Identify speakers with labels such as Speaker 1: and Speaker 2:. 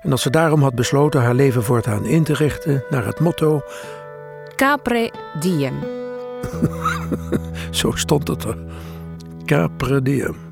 Speaker 1: en dat ze daarom had besloten haar leven voortaan in te richten naar het motto:
Speaker 2: Capre diem.
Speaker 1: zo stond het er, Capre Diem.